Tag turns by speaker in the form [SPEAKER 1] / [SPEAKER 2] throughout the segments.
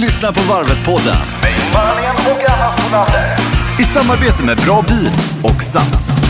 [SPEAKER 1] lyssnar på Varvet-podden i samarbete med Bra Bil och Sats.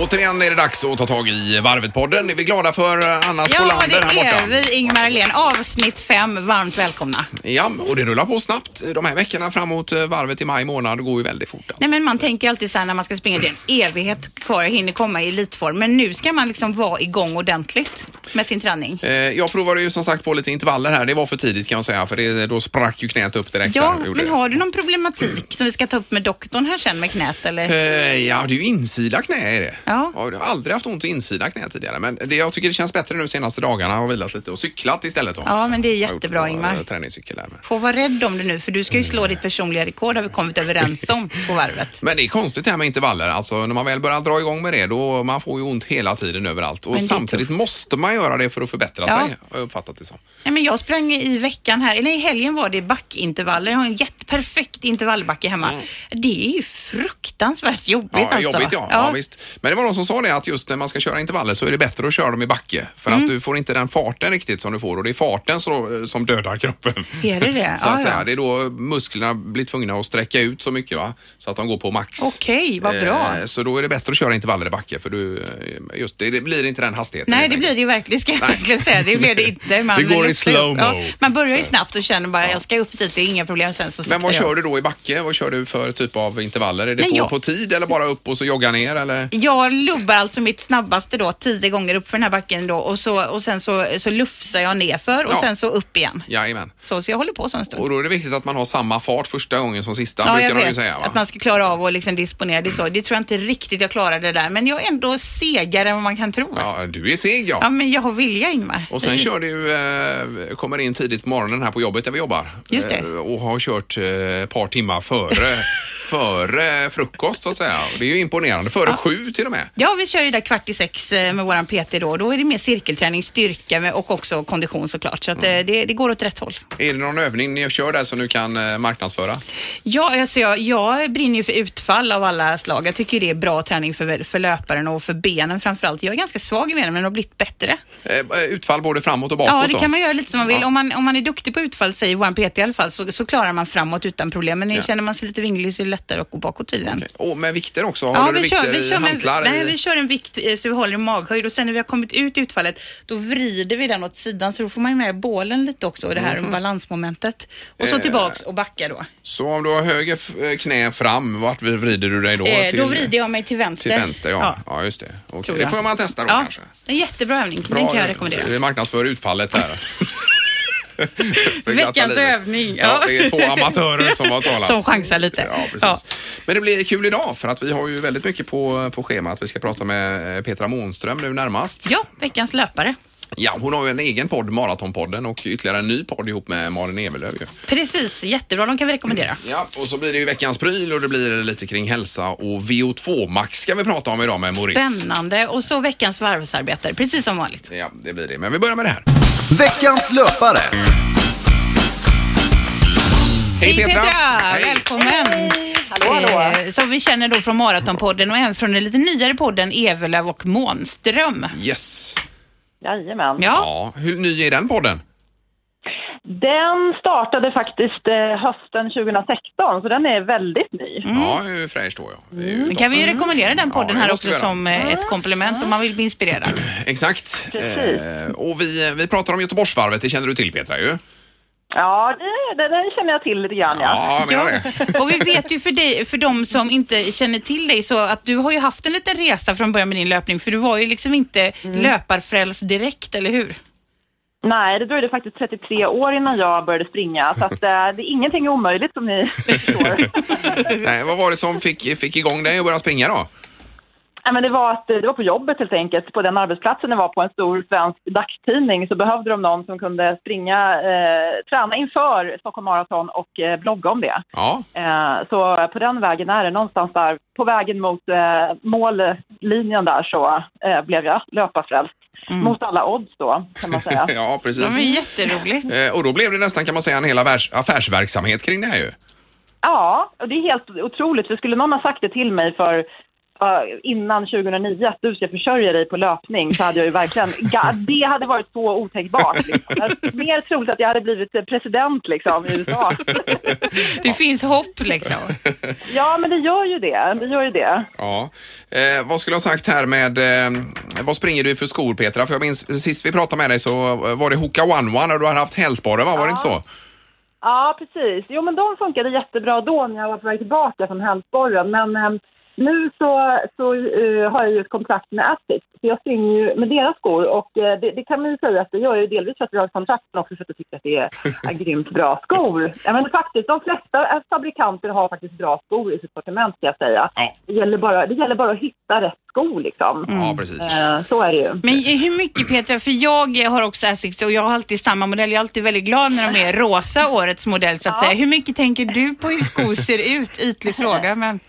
[SPEAKER 2] Återigen är det dags att ta tag i Varvet-podden. Är vi glada för eh, Anna
[SPEAKER 3] Ja,
[SPEAKER 2] Spolander
[SPEAKER 3] det
[SPEAKER 2] här borta?
[SPEAKER 3] är vi, Ingmar Ahlén. Avsnitt fem, varmt välkomna.
[SPEAKER 2] Ja, och det rullar på snabbt. De här veckorna framåt eh, varvet i maj månad går ju väldigt fort. alltså.
[SPEAKER 3] Nej, men man tänker alltid så här när man ska springa, det är en evighet kvar, jag hinner komma i elitform. Men nu ska man liksom vara igång ordentligt med sin träning.
[SPEAKER 2] Eh, Jag provade ju som sagt på lite intervaller här. Det var för tidigt kan jag säga för det, då sprack ju knät upp direkt.
[SPEAKER 3] Ja,
[SPEAKER 2] där, gjorde
[SPEAKER 3] men
[SPEAKER 2] det.
[SPEAKER 3] har du någon problematik som vi ska ta upp med doktorn här sen med knät eller?
[SPEAKER 2] Eh, Ja, det är ju insida knä är det.
[SPEAKER 3] Ja.
[SPEAKER 2] Jag har aldrig haft ont i insida knä tidigare men det, jag tycker det känns bättre nu senaste dagarna. Jag har vilat lite och cyklat istället. Då.
[SPEAKER 3] Ja, men det är
[SPEAKER 2] Jag har gjort
[SPEAKER 3] jättebra,
[SPEAKER 2] på,
[SPEAKER 3] Ingmar.
[SPEAKER 2] eh, Träningscykel där med.
[SPEAKER 3] Får vara rädd om det nu för du ska ju slå ditt personliga rekord har vi kommit överens om på varvet.
[SPEAKER 2] Men det är konstigt det här med intervaller. Alltså när man väl börjar dra igång med det då man får ju ont hela tiden överallt. Och
[SPEAKER 3] Men det är
[SPEAKER 2] samtidigt måste man göra det för att förbättra
[SPEAKER 3] Ja.
[SPEAKER 2] sig. Har jag uppfattat det som.
[SPEAKER 3] Nej, men jag sprang i veckan här, eller i helgen var det backintervaller. Jag har en jätteperfekt intervallbacke hemma. Mm. Det är ju fruktansvärt jobbigt
[SPEAKER 2] Ja,
[SPEAKER 3] alltså.
[SPEAKER 2] Jobbigt ja. ja. visst. Men det var någon som sa det att just när man ska köra intervaller så är det bättre att köra dem i backe. För
[SPEAKER 3] Mm.
[SPEAKER 2] att du får inte den farten riktigt som du får och det är farten så, som dödar kroppen.
[SPEAKER 3] Är det det?
[SPEAKER 2] Så att
[SPEAKER 3] Ja,
[SPEAKER 2] säga.
[SPEAKER 3] ja.
[SPEAKER 2] Det är då musklerna blir tvungna att sträcka ut så mycket va? så att de går på max.
[SPEAKER 3] Okej, vad bra.
[SPEAKER 2] Eh, Så då är det bättre att köra intervaller i backe för du, eh, just det, det blir inte den hastigheten.
[SPEAKER 3] Nej,
[SPEAKER 2] helt
[SPEAKER 3] det blir
[SPEAKER 2] enkelt.
[SPEAKER 3] det ju verkligen, ska jag verkligen säga. Det blir det inte. Man
[SPEAKER 4] Det går i
[SPEAKER 3] luftar ju upp.
[SPEAKER 4] slow-mo.
[SPEAKER 3] man börjar ju snabbt och känner bara, jag ska upp dit, det är inga problem sen. Så
[SPEAKER 2] Men vad
[SPEAKER 3] siktar
[SPEAKER 2] kör
[SPEAKER 3] jag.
[SPEAKER 2] du då i backe? Vad kör du för typ av intervaller? Är det
[SPEAKER 3] Nej,
[SPEAKER 2] på,
[SPEAKER 3] jag-
[SPEAKER 2] på tid eller bara upp och så jogga ner eller?
[SPEAKER 3] Jag lubbar alltså mitt snabbaste då, tio gånger upp för den här backen då och, så, och sen så, så lufsar jag nerför och
[SPEAKER 2] Ja.
[SPEAKER 3] sen så upp igen.
[SPEAKER 2] Jajamän.
[SPEAKER 3] Så, så jag håller på så en stund.
[SPEAKER 2] Och då är det viktigt att man har samma fart första gången som sista
[SPEAKER 3] Ja,
[SPEAKER 2] brukar
[SPEAKER 3] jag
[SPEAKER 2] de ju
[SPEAKER 3] vet.
[SPEAKER 2] säga. Va?
[SPEAKER 3] Att man ska klara av att liksom disponera det så. Det tror jag inte riktigt jag klarar det där. Men jag är ändå segare än vad man kan tro. Ja, Mm.
[SPEAKER 2] Ja, du är seg ja.
[SPEAKER 3] men jag har vilja, Ingmar.
[SPEAKER 2] Och sen kör du, ju, eh, kommer in tidigt på morgonen här på jobbet där vi jobbar.
[SPEAKER 3] Just det.
[SPEAKER 2] Eh, Och har kört eh, ett par timmar före, före frukost så att säga. Och Det är ju imponerande. Före sju till och med.
[SPEAKER 3] Ja, vi kör ju där kvart i sex eh, med våran PT då. Då är det mer cirkelträning, styrka med- och också kondition såklart. Så att eh, det, det går åt rätt håll.
[SPEAKER 2] Är det någon övning ni kör där som du kan eh, marknadsföra?
[SPEAKER 3] Ja, alltså jag, jag brinner ju för utfall av alla slag. Jag tycker ju det är bra träning för, för löparen och för benen framförallt. Jag är ganska svag i benen men har blivit bättre.
[SPEAKER 2] Eh, Utfall både framåt och bakåt
[SPEAKER 3] Ja, det
[SPEAKER 2] då?
[SPEAKER 3] kan man göra lite som man vill.
[SPEAKER 2] Ja.
[SPEAKER 3] Om, man, om man är duktig på utfall, säger vår PT i alla fall, så, så klarar man framåt utan problem. Men känner man sig lite vinglig så är det lättare att gå bakåt tydligen.
[SPEAKER 2] Och med vikter också? Håller
[SPEAKER 3] Ja,
[SPEAKER 2] du
[SPEAKER 3] vi
[SPEAKER 2] vikter
[SPEAKER 3] kör, vi,
[SPEAKER 2] i
[SPEAKER 3] kör med,
[SPEAKER 2] hantlar?
[SPEAKER 3] nej,
[SPEAKER 2] i-
[SPEAKER 3] vi kör en vikt eh, så vi håller i maghöjd och sen när vi har kommit ut i utfallet då vrider vi den åt sidan så då får man ju med bålen lite också och det här
[SPEAKER 2] Mhm.
[SPEAKER 3] balansmomentet. Och
[SPEAKER 2] Eh,
[SPEAKER 3] så tillbaks och backa då.
[SPEAKER 2] Så om du har höger f- eh, knä fram, vart vrider du dig då?
[SPEAKER 3] Eh,
[SPEAKER 2] till,
[SPEAKER 3] då vrider jag mig till vänster.
[SPEAKER 2] till vänster, ja. ja. just det. Okej,
[SPEAKER 3] tror
[SPEAKER 2] Det
[SPEAKER 3] jag.
[SPEAKER 2] får man testa då
[SPEAKER 3] Ja,
[SPEAKER 2] kanske.
[SPEAKER 3] En jättebra övning, den kan jag rekommendera.
[SPEAKER 2] Vi marknadsför utfallet där. För
[SPEAKER 3] Veckans
[SPEAKER 2] glatta livet.
[SPEAKER 3] övning,
[SPEAKER 2] Ja.
[SPEAKER 3] ja.
[SPEAKER 2] det är två amatörer som har talat.
[SPEAKER 3] Som chansar lite.
[SPEAKER 2] Ja, precis.
[SPEAKER 3] Ja.
[SPEAKER 2] Men det blir kul idag för att vi har ju väldigt mycket på, på schemat. Vi ska prata med eh, Petra Månström nu närmast.
[SPEAKER 3] Ja, veckans löpare.
[SPEAKER 2] Ja, hon har ju en egen podd, Maratonpodden, och ytterligare en ny podd ihop med Malin Evelöv. ju.
[SPEAKER 3] Precis, jättebra, de kan vi rekommendera.
[SPEAKER 2] Ja, och så blir det ju veckans pryl och det blir lite kring hälsa och VO2 Max ska vi prata om idag med Maurice.
[SPEAKER 3] Spännande. Och så veckans varvsarbetare, precis som vanligt.
[SPEAKER 2] Ja, det blir det. Men vi börjar med det här.
[SPEAKER 1] Veckans löpare.
[SPEAKER 2] Hej Petra! Hej.
[SPEAKER 3] Välkommen!
[SPEAKER 5] Hallå, hallå.
[SPEAKER 3] Eh, Som vi känner då från Maratonpodden och även från den lite nyare podden Evelöv och Månström.
[SPEAKER 2] Yes.
[SPEAKER 5] Jajamän.
[SPEAKER 3] Ja,
[SPEAKER 2] Ja, hur ny är den podden?
[SPEAKER 5] Den startade faktiskt eh, hösten 2016, så den är väldigt ny.
[SPEAKER 2] Ja, hur fräsch då ja. Det är ju
[SPEAKER 3] då kan vi ju rekommendera den podden
[SPEAKER 2] Mm. det
[SPEAKER 3] här
[SPEAKER 2] måste
[SPEAKER 3] också
[SPEAKER 2] vi göra.
[SPEAKER 3] som eh,
[SPEAKER 5] Ah,
[SPEAKER 3] ett komplement om man vill bli inspirerad.
[SPEAKER 2] Exakt. Eh, och vi, vi pratar om Göteborgsvarvet, det känner du till Petra ju.
[SPEAKER 5] Ja, det, det, det känner jag till lite grann. Ja.
[SPEAKER 2] Ja, jag menar det.
[SPEAKER 3] Och vi vet ju för dig, för de som inte känner till dig, så att du har ju haft en liten resa från början med din löpning, för du var ju liksom inte
[SPEAKER 5] Mm.
[SPEAKER 3] löparfrälst direkt, eller hur?
[SPEAKER 5] Nej, det dröjde faktiskt 33 år innan jag började springa, så att, eh, det är ingenting är omöjligt som ni förstår.
[SPEAKER 2] Nej, vad var det som fick, fick igång dig att börja springa då?
[SPEAKER 5] Nej, men det, var att, eh, det var på jobbet helt enkelt, på den arbetsplatsen jag var på, en stor svensk dagstidning, så behövde de någon som kunde springa, eh, träna inför Stockholm Marathon och eh, blogga om det.
[SPEAKER 2] Ja,
[SPEAKER 5] Eh, Så på den vägen är det någonstans där, på vägen mot eh, mållinjen där så eh, blev jag löparfrälst. Mot alla odds då, kan man säga.
[SPEAKER 2] ja
[SPEAKER 3] Det var ju
[SPEAKER 2] precis.
[SPEAKER 3] jätteroligt.
[SPEAKER 2] Eh, Och då blev det nästan kan man säga en hel affärs, affärsverksamhet kring det här ju.
[SPEAKER 5] ja, och det är helt otroligt. För skulle någon ha sagt det till mig för sa innan 2009 att du ska försörja dig på löpning så hade jag ju verkligen, ga- det hade varit så otänkbart. Liksom. Det är Mer troligt att jag hade blivit president liksom, i USA.
[SPEAKER 3] Det finns hopp liksom.
[SPEAKER 5] Ja, men det gör ju det. Det gör ju det.
[SPEAKER 2] Ja. Eh, vad skulle jag ha sagt här med... Eh, vad springer du för skor Petra? För jag minns sist vi pratade med dig så eh, var det Hoka One One och du hade haft hälsporre va? Var det inte så?
[SPEAKER 5] Ja, precis. Jo, men de funkade jättebra då när jag var på väg tillbaka från Hälsborgen. Men eh, nu så, så eh, har jag ju ett kontrakt med Asics, så jag springer ju med deras skor. Och eh, det, det kan man ju säga att det gör jag ju delvis för att vi har ett kontrakt, men också för att jag tycker att det är, är grymt bra skor. Ja, men faktiskt, de flesta eh, fabrikanter har faktiskt bra skor i sitt sortiment, ska jag säga.
[SPEAKER 2] Ja. Mm.
[SPEAKER 5] Det, gäller bara, det gäller bara att hitta rätt sko, liksom.
[SPEAKER 3] Mm.
[SPEAKER 2] Ja, precis.
[SPEAKER 5] Eh, så är det ju.
[SPEAKER 3] Men hur mycket Petra, för jag har också Asics och jag har alltid samma modell. Jag är alltid väldigt glad när de är rosa, årets modell så att säga. Hur mycket tänker du på hur skor ser ut? Ytlig fråga, men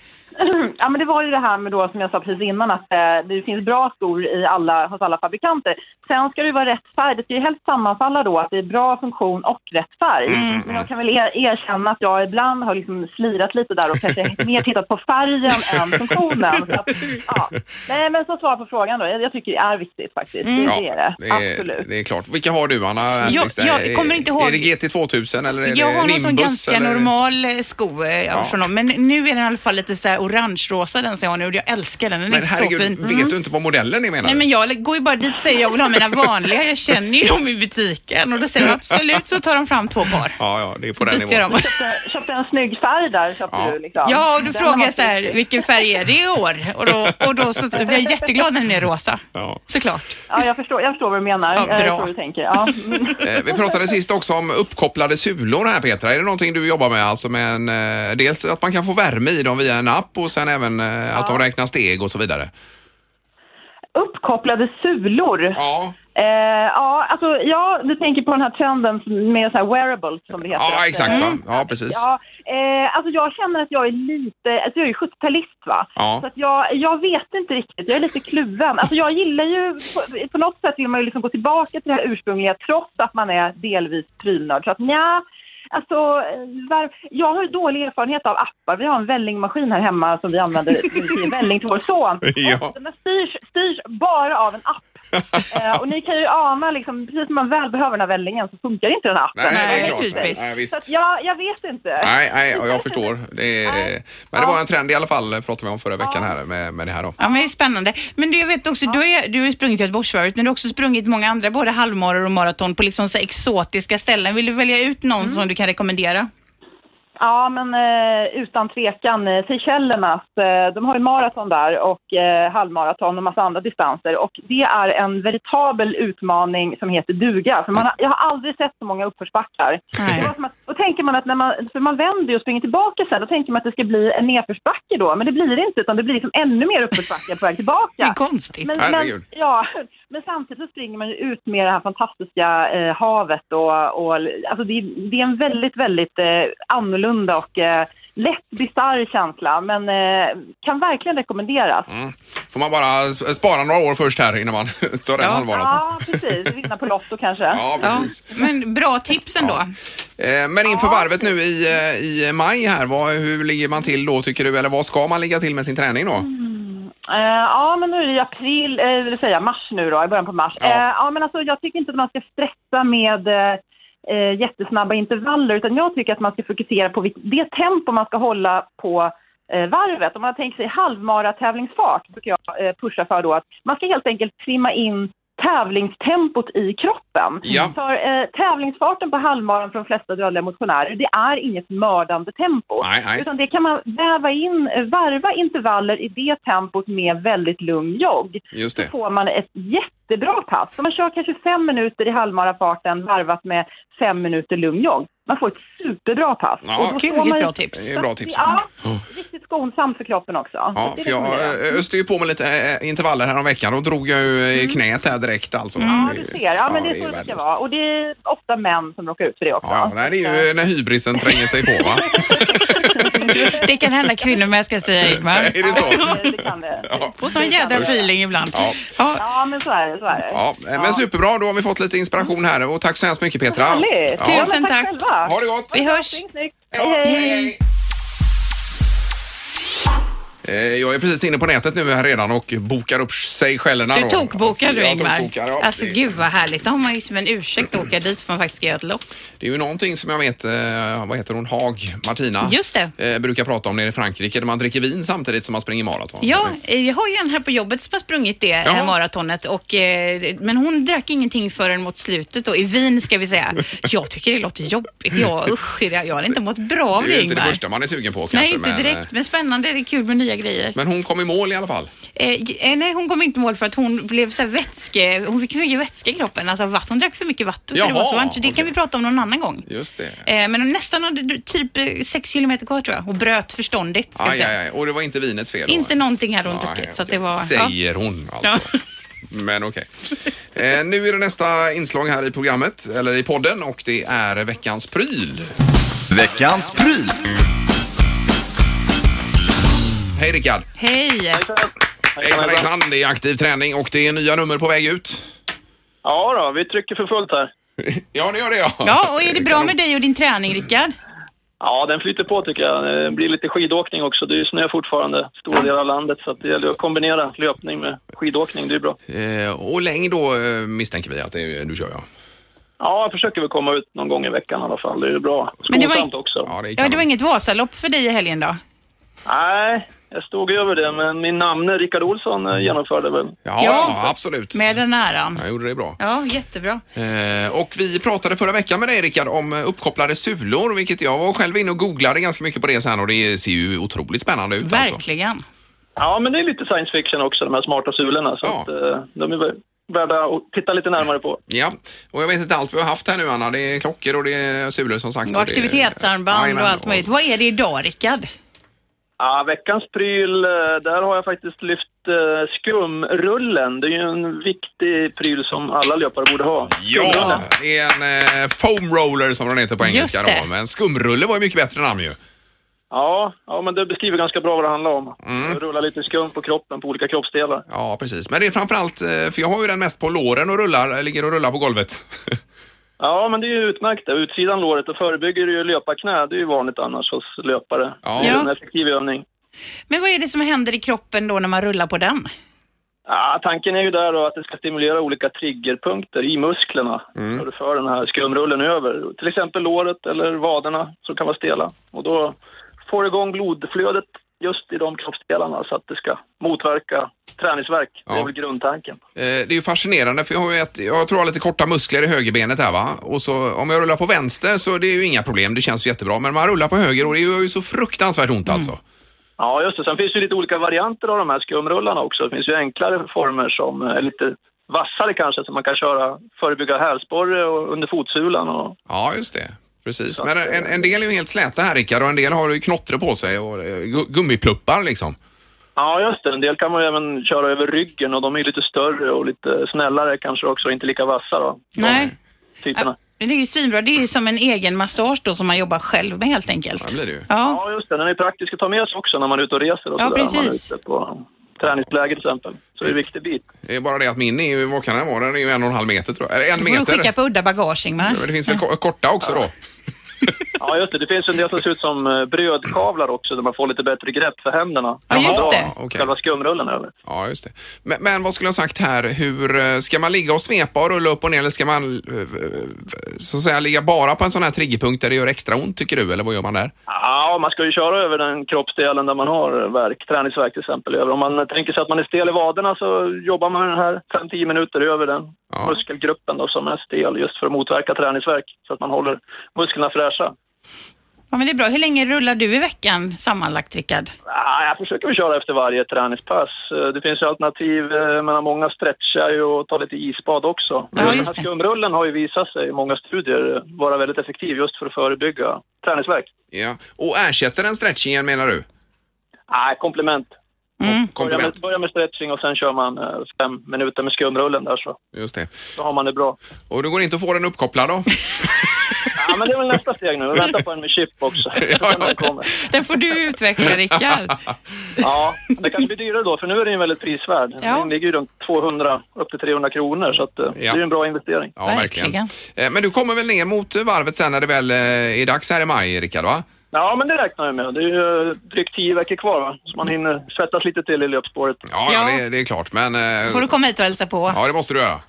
[SPEAKER 5] Ja, men det var ju det här med då, som jag sa precis innan, att eh, det finns bra skor i alla, hos alla fabrikanter. Sen ska det ju vara rätt färg. Det ska ju helst sammanfalla då, att det är bra funktion och rätt färg. Men jag kan väl er, erkänna att jag ibland har liksom slirat lite där och kanske mer tittat på färgen än funktionen. Så att, ja. Nej, men så svar på frågan då. Jag, jag tycker det är viktigt faktiskt. Det, det är det. Absolut.
[SPEAKER 2] Mm. Det är klart. Vilka har du Anna?
[SPEAKER 3] Jag-
[SPEAKER 2] Asics?
[SPEAKER 3] jag kommer inte ihåg.
[SPEAKER 2] Är det GT2000 eller är
[SPEAKER 3] jag
[SPEAKER 2] det
[SPEAKER 3] har någon
[SPEAKER 2] Nimbus?
[SPEAKER 3] sån ganska
[SPEAKER 2] eller?
[SPEAKER 3] normal eh, sko eh, från dem. Men nu är den i alla fall lite så här orange-rosa den som jag har nu och jag älskar den. Den
[SPEAKER 2] Men
[SPEAKER 3] är så fin.
[SPEAKER 2] herregud,
[SPEAKER 3] Mm.
[SPEAKER 2] vet du inte vad modellen är menar
[SPEAKER 3] Nej
[SPEAKER 2] du?
[SPEAKER 3] men jag går ju bara dit och säger jag vill ha mina vanliga, jag känner ju dem i butiken och då säger de absolut så tar de fram två par.
[SPEAKER 2] Ja, ja, det är på den
[SPEAKER 3] Byter
[SPEAKER 2] nivån.
[SPEAKER 3] dem.
[SPEAKER 5] Köpte, köpte en snygg färg där, köpte
[SPEAKER 2] Ja.
[SPEAKER 5] du liksom.
[SPEAKER 3] Ja, och då
[SPEAKER 5] Den
[SPEAKER 3] frågar
[SPEAKER 5] har
[SPEAKER 3] jag så här, vilken färg är det i år? Och då, och då så blir jag jätteglad när den är rosa.
[SPEAKER 2] Ja.
[SPEAKER 3] Såklart.
[SPEAKER 5] Ja, jag förstår, jag förstår vad du menar.
[SPEAKER 3] Ja,
[SPEAKER 5] jag
[SPEAKER 3] bra.
[SPEAKER 5] förstår vad du tänker. Ja. Mm.
[SPEAKER 2] Eh, Vi pratade sist också om uppkopplade sulor här Petra. Är det någonting du jobbar med? Alltså med en, eh, dels att man kan få värme i dem via en app och sen även eh, att de räknar steg och så vidare.
[SPEAKER 5] Uppkopplade sulor.
[SPEAKER 2] Ja,
[SPEAKER 5] Eh, ja, alltså, ja, du tänker på den här trenden med så här wearables som det heter.
[SPEAKER 2] ja
[SPEAKER 5] också.
[SPEAKER 2] exakt va? Ja, precis.
[SPEAKER 5] Mm. Ja, eh, alltså jag känner att jag är lite, alltså jag är ju 70-talist va.
[SPEAKER 2] Ja.
[SPEAKER 5] Så att jag, jag vet inte riktigt, jag är lite kluven. Alltså jag gillar ju, på, på något sätt vill man ju liksom gå tillbaka till det här ursprungliga trots att man är delvis prylnörd. Så att nja, alltså eh, var, jag har ju dålig erfarenhet av appar. Vi har en vällingmaskin här hemma som vi använder till välling till vår son.
[SPEAKER 2] Ja.
[SPEAKER 5] Och den styrs, styrs bara av en app. Eh, och ni kan ju ana, liksom, precis när man väl behöver den här vällingen så funkar inte den här appen.
[SPEAKER 2] Nej, det
[SPEAKER 3] Nej,
[SPEAKER 2] är klart.
[SPEAKER 3] typiskt.
[SPEAKER 2] Nej,
[SPEAKER 5] Så
[SPEAKER 2] visst.
[SPEAKER 5] att jag, jag vet inte.
[SPEAKER 2] Nej, nej, ja, jag förstår. Det är, men det var en trend i alla fall, pratade vi om förra veckan här med, med det här då.
[SPEAKER 3] Ja, men det är spännande. Men du, jag vet också, du har, ju- du har ju sprungit Göteborgsvarvet, men du har också sprungit många andra, både halvmaror och maraton på liksom så här exotiska ställen. Vill du välja ut någon
[SPEAKER 5] Mm.
[SPEAKER 3] som du kan rekommendera?
[SPEAKER 5] Ja, men eh, utan tvekan. eh, Seychellernas, eh, de har ju maraton där och eh, halvmaraton och massa andra distanser. Och det är en veritabel utmaning som heter duga. För man har, jag har aldrig sett så många uppförsbackar.
[SPEAKER 3] Nej.
[SPEAKER 5] Det var som att, då tänker man att när man, för man vänder ju och springer tillbaka sen, då tänker man att det ska bli en nedförsbacke då. Men det blir det inte, utan det blir liksom ännu mer uppförsbacke på väg
[SPEAKER 3] Det är
[SPEAKER 5] tillbaka.
[SPEAKER 3] konstigt.
[SPEAKER 5] Men,
[SPEAKER 2] Herregud.
[SPEAKER 5] men, ja, men samtidigt så springer man ju ut med det här fantastiska eh, havet och, och alltså det, är- det är en väldigt, väldigt eh, annorlunda och eh, lätt bisarr känsla men eh, kan verkligen rekommenderas.
[SPEAKER 2] Mm, Får man bara s- spara några år först här innan man tar den
[SPEAKER 3] Ja.
[SPEAKER 2] halvmaran.
[SPEAKER 5] Ja, precis. Vinna på Lotto kanske.
[SPEAKER 2] alltså. Ja,
[SPEAKER 3] Ja,
[SPEAKER 2] precis.
[SPEAKER 3] men bra tips ändå.
[SPEAKER 2] Eh, Men inför varvet nu i, eh, i maj här, vad, hur ligger man till då tycker du? Eller vad ska man ligga till med sin träning då?
[SPEAKER 5] Eh, ja, men nu är det i april, eh, det vill säga mars nu då, i början på mars.
[SPEAKER 2] Ja.
[SPEAKER 5] Ja, eh, ja men alltså jag tycker inte att man ska stressa med eh, eh, jättesnabba intervaller, utan jag tycker att man ska fokusera på vilk- det tempo man ska hålla på eh, varvet. Om man tänker sig halvmaratävlingsfart, brukar jag eh, pusha för då, att man ska helt enkelt trimma in tävlingstempot i kroppen.
[SPEAKER 2] Ja.
[SPEAKER 5] För eh, tävlingsfarten på halvmaran för de flesta dödliga motionärer, det är inget mördande tempo.
[SPEAKER 2] Nej, nej.
[SPEAKER 5] Utan det kan man väva in, varva intervaller i det tempot med väldigt lugn jogg.
[SPEAKER 2] Just
[SPEAKER 5] Så
[SPEAKER 2] det.
[SPEAKER 5] får man ett jättebra pass. Så man kör kanske fem minuter i halvmarafarten varvat med fem minuter lugn jogg. Man får ett superbra pass.
[SPEAKER 2] Ja,
[SPEAKER 5] Och då
[SPEAKER 3] Kul,
[SPEAKER 5] får man
[SPEAKER 3] vilket
[SPEAKER 5] ju-
[SPEAKER 3] bra tips.
[SPEAKER 2] Det är bra tips. Mm.
[SPEAKER 5] Ja, riktigt skonsamt för kroppen också.
[SPEAKER 2] Ja,
[SPEAKER 5] Så det
[SPEAKER 2] för jag
[SPEAKER 5] rekommenderar
[SPEAKER 2] eh, öste ju på med lite eh, intervaller här om veckan. Då drog jag ju eh, i knät här direkt alltså.
[SPEAKER 5] Mm. Ja, du ser. Ja, men det är så det ska
[SPEAKER 2] värdelöst.
[SPEAKER 5] vara. Och det är ofta män som råkar ut för det också.
[SPEAKER 2] Ja, nej, det är ju när hybrisen tränger sig på va?
[SPEAKER 3] Det kan hända kvinnor med, ska jag säga Ingmar.
[SPEAKER 2] är det så?
[SPEAKER 5] Det- det kan det.
[SPEAKER 2] Ja.
[SPEAKER 3] Får sån jädra feeling ibland.
[SPEAKER 2] Ja.
[SPEAKER 3] Ja.
[SPEAKER 5] Ja, men så är det. Så är det.
[SPEAKER 2] Ja, eh, men superbra. Då har vi fått lite inspiration här och tack så hemskt mycket Petra.
[SPEAKER 5] Härligt.
[SPEAKER 2] Ja,
[SPEAKER 3] Tusen
[SPEAKER 5] men
[SPEAKER 3] tack.
[SPEAKER 5] själva.
[SPEAKER 2] ha det gott!
[SPEAKER 3] Vi hörs.
[SPEAKER 5] Snyggt, snyggt.
[SPEAKER 2] Ja,
[SPEAKER 5] Hej, hej.
[SPEAKER 2] hej. Eh, Jag är precis inne på nätet nu här redan och bokar upp sejchellerna.
[SPEAKER 3] Du
[SPEAKER 2] då. Alltså,
[SPEAKER 3] tokbokar du
[SPEAKER 2] Jag
[SPEAKER 3] Ingmar.
[SPEAKER 2] tokbokar, ja.
[SPEAKER 3] Alltså
[SPEAKER 2] Det-
[SPEAKER 3] gud vad härligt. Då har man ju som en ursäkt att åka dit för man faktiskt ska göra ett lopp.
[SPEAKER 2] Det är ju någonting som jag vet, eh, vad heter hon, Haag, Martina,
[SPEAKER 3] Just det.
[SPEAKER 2] Eh, brukar prata om nere i Frankrike där man dricker vin samtidigt som man springer maraton.
[SPEAKER 3] Ja, eh, jag har ju en här på jobbet som har sprungit det eh, maratonet. Och, eh, men hon drack ingenting förrän mot slutet då, i Wien ska vi säga. Jag tycker det låter jobbigt. Jag, usch, jag jag har inte mått bra av
[SPEAKER 2] Det är ju
[SPEAKER 3] det
[SPEAKER 2] inte det
[SPEAKER 3] Ingmar.
[SPEAKER 2] första man är sugen på kanske.
[SPEAKER 3] Nej, inte
[SPEAKER 2] men, eh,
[SPEAKER 3] direkt. Men spännande, det är kul med nya grejer.
[SPEAKER 2] Men hon kom i mål i alla fall.
[SPEAKER 3] Eh, j- eh, nej, hon kom inte i mål för att hon blev så här vätske... Hon fick för mycket vätska i kroppen. Alltså vatten. Hon drack för mycket vatten. för det,
[SPEAKER 2] Jaha,
[SPEAKER 3] var så varmt, så det
[SPEAKER 2] okej.
[SPEAKER 3] kan vi prata om någon annan gång.
[SPEAKER 2] Just det.
[SPEAKER 3] Eh, men hon nästan hade d- typ eh, sex kilometer kvar tror jag. Hon bröt förståndigt. Ska jag
[SPEAKER 2] Aj,
[SPEAKER 3] säga.
[SPEAKER 2] aj, aj. Och det var inte vinets fel då?
[SPEAKER 3] Inte någonting hade hon
[SPEAKER 2] Nej,
[SPEAKER 3] druckit. Så att
[SPEAKER 2] okej.
[SPEAKER 3] det var... Ja.
[SPEAKER 2] Säger hon alltså.
[SPEAKER 3] Ja.
[SPEAKER 2] Men okej. Eh, nu är det nästa inslag här i programmet, eller i podden, och det är veckans pryl.
[SPEAKER 1] Veckans pryl.
[SPEAKER 2] Hej Rickard!
[SPEAKER 3] Hej!
[SPEAKER 2] Hejsan hejsan! Det är aktiv träning och det är nya nummer på väg ut.
[SPEAKER 4] Ja då, vi trycker för fullt här.
[SPEAKER 2] Ja, det gör det ja.
[SPEAKER 3] Ja, och är det bra med dig och din träning Rickard?
[SPEAKER 4] Ja, den flyter på tycker jag. Det blir lite skidåkning också. Det är ju snö fortfarande, stora delar av landet. Så att det gäller att kombinera löpning med skidåkning, det är bra.
[SPEAKER 2] Eh, och längd då eh, misstänker vi att det är, du kör ja.
[SPEAKER 4] Ja, jag försöker väl komma ut någon gång i veckan i alla fall. Det är bra.
[SPEAKER 3] Men det var-
[SPEAKER 4] Skonsamt också.
[SPEAKER 2] Ja, det är
[SPEAKER 3] Ja, det var
[SPEAKER 2] kanon.
[SPEAKER 3] inget Vasalopp för dig i helgen då?
[SPEAKER 4] Nej, jag stod över det, men min namne Rickard Olsson eh, genomförde väl.
[SPEAKER 2] Ja,
[SPEAKER 3] Ja.
[SPEAKER 2] ja, absolut.
[SPEAKER 3] Med den äran.
[SPEAKER 2] Jag gjorde det bra.
[SPEAKER 3] Ja, jättebra.
[SPEAKER 2] Eh, och vi pratade förra veckan med dig Rickard om eh, uppkopplade sulor, vilket jag var själv inne och googlade ganska mycket på det sen och det ser ju otroligt spännande ut. Alltså.
[SPEAKER 3] Verkligen.
[SPEAKER 4] Ja, men det är lite science fiction också, de här smarta sulorna. Så
[SPEAKER 2] Ja.
[SPEAKER 4] att, eh, de är väl värda att titta lite närmare på.
[SPEAKER 2] Ja, och jag vet inte allt vi har haft här nu Anna. Det är klockor och det är sulor som sagt.
[SPEAKER 3] Och
[SPEAKER 2] det är-
[SPEAKER 3] aktivitetsarmband
[SPEAKER 2] Jajamän,
[SPEAKER 3] och allt möjligt. Vad är det idag Rickard?
[SPEAKER 4] Ja, veckans pryl, eh, där har jag faktiskt lyft eh, skumrullen. Det är ju en viktig pryl som alla löpare borde ha.
[SPEAKER 2] Ja, det är en eh, foam roller som den heter på
[SPEAKER 3] Just
[SPEAKER 2] engelska.
[SPEAKER 3] det.
[SPEAKER 2] Då. Men skumrulle var ju mycket bättre namn ju.
[SPEAKER 4] Ja, ja, men det beskriver ganska bra vad det handlar om.
[SPEAKER 2] Mm.
[SPEAKER 4] Rulla lite skum på kroppen, på olika kroppsdelar.
[SPEAKER 2] Ja, precis. Men det är framförallt, eh, för jag har ju den mest på låren och rullar, ligger och rullar på golvet.
[SPEAKER 4] Ja, men det är ju utmärkt det. Utsidan låret, det förebygger ju löparknä. Det är ju vanligt annars hos löpare.
[SPEAKER 2] Ja.
[SPEAKER 4] Det är ju en
[SPEAKER 3] Ja.
[SPEAKER 4] effektiv övning.
[SPEAKER 3] Men vad är det som händer i kroppen då när man rullar på den?
[SPEAKER 4] Ja, tanken är ju där då att det ska stimulera olika triggerpunkter i musklerna när du för den här skumrullen över. Till exempel låret eller vaderna som kan vara stela. Och då får du igång blodflödet just i de kroppsdelarna så att det ska motverka träningsvärk. Det
[SPEAKER 2] Ja.
[SPEAKER 4] är väl grundtanken.
[SPEAKER 2] Eh, Det är ju fascinerande för jag har ju ett, jag tror jag har lite korta muskler i högerbenet här va. Och så om jag rullar på vänster så det är ju inga problem, det känns ju jättebra. Men man rullar på höger och det gör ju så fruktansvärt
[SPEAKER 3] Mm.
[SPEAKER 2] ont alltså.
[SPEAKER 4] Ja, just det. Sen finns det ju lite olika varianter av de här skumrullarna också. Det finns ju enklare former som är lite vassare kanske, som man kan köra, förebygga hälsporre och under fotsulan och
[SPEAKER 2] Ja, just det. Precis. Men en,
[SPEAKER 3] eh,
[SPEAKER 2] en del är ju helt släta här Rickard och en del har ju knottre på sig och eh, gu- gummipluppar liksom.
[SPEAKER 4] Ja, just det. En del kan man ju även köra över ryggen och de är ju lite större och lite snällare kanske också, inte lika vassa då. de
[SPEAKER 3] Nej.
[SPEAKER 4] Typerna.
[SPEAKER 3] Äh, Det är ju svinbra. Det är ju som en egen massage då som man jobbar själv med helt enkelt.
[SPEAKER 2] Ja, det blir det ju.
[SPEAKER 3] Ja.
[SPEAKER 4] Ja, just det. Den är praktisk att ta med sig också när man är ute och reser och
[SPEAKER 3] Ja,
[SPEAKER 4] sådär. Om Man
[SPEAKER 3] precis.
[SPEAKER 4] är ute på träningsläger till exempel. Så det är en viktig bit.
[SPEAKER 2] Det är bara det att min är ju, vad kan den vara? Den är ju en och en halv meter tror jag. Eller en
[SPEAKER 3] Du får du
[SPEAKER 2] meter.
[SPEAKER 3] skicka på udda bagage Ingmar.
[SPEAKER 2] Men det finns väl ko- korta också då?
[SPEAKER 4] Ja, just det. Det finns ju en del som ser ut som eh, brödkavlar också, där man får lite bättre grepp för händerna.
[SPEAKER 3] Ja, just
[SPEAKER 4] Då
[SPEAKER 3] det.
[SPEAKER 2] okej.
[SPEAKER 4] Själva skumrullen över.
[SPEAKER 2] Ja, just det. Men, men vad skulle jag ha sagt här? Hur eh, Ska man ligga och svepa och rulla upp och ner eller ska man eh, så att säga ligga bara på en sån här triggerpunkt där det gör extra ont tycker du? Eller vad gör man där?
[SPEAKER 4] Ja, man ska ju köra över den kroppsdelen där man har verk, träningsverk till exempel. Över. Om man tänker sig att man är stel i vaderna så jobbar man den här 5-10 minuter över den
[SPEAKER 2] Ja.
[SPEAKER 4] muskelgruppen då, som är stel just för att motverka träningsverk så att man håller musklerna fräscha.
[SPEAKER 3] Ja, men det är bra. Hur länge rullar du i veckan sammanlagt Rickard?
[SPEAKER 4] Ja, jag försöker väl köra efter varje träningspass. Eh, Det finns ju alternativ, eh, men många stretchar ju och tar lite isbad också. Men
[SPEAKER 3] Ja,
[SPEAKER 4] den
[SPEAKER 3] just
[SPEAKER 4] här
[SPEAKER 3] det.
[SPEAKER 4] skumrullen har ju visat sig i många studier eh, vara väldigt effektiv just för att förebygga träningsverk.
[SPEAKER 2] Ja. Och ersätter den stretchingen menar du?
[SPEAKER 4] Nej, komplement.
[SPEAKER 3] Mm.
[SPEAKER 4] Börja med,
[SPEAKER 2] Komplement.
[SPEAKER 4] börja med stretching och sen kör man eh, fem minuter med skumrullen där så
[SPEAKER 2] Just det.
[SPEAKER 4] då har man det bra.
[SPEAKER 2] Och du går inte att få den uppkopplad då?
[SPEAKER 4] Ja, men det är väl nästa steg nu. Vi väntar på en med chip också. Sen den kommer.
[SPEAKER 3] Den får du utveckla Rickard.
[SPEAKER 4] Ja, det kanske blir dyrare då, för nu är den ju väldigt prisvärd.
[SPEAKER 3] Ja.
[SPEAKER 4] Den ligger ju runt 200 upp till 300 kronor, så att, eh, det är ju en bra investering.
[SPEAKER 2] Ja,
[SPEAKER 3] Verkligen.
[SPEAKER 2] Eh, Men du kommer väl ner mot varvet sen när det väl eh, är dags här i maj, Rickard? Va?
[SPEAKER 4] Ja, men det räknar jag med. Det är ju eh, drygt tio veckor kvar, va? så man hinner svettas lite till i löpspåret.
[SPEAKER 2] Ja, ja.
[SPEAKER 3] Ja.
[SPEAKER 2] Det, det är klart. Men... eh,
[SPEAKER 3] Får du komma hit och hälsa på?
[SPEAKER 2] Ja, det måste du göra.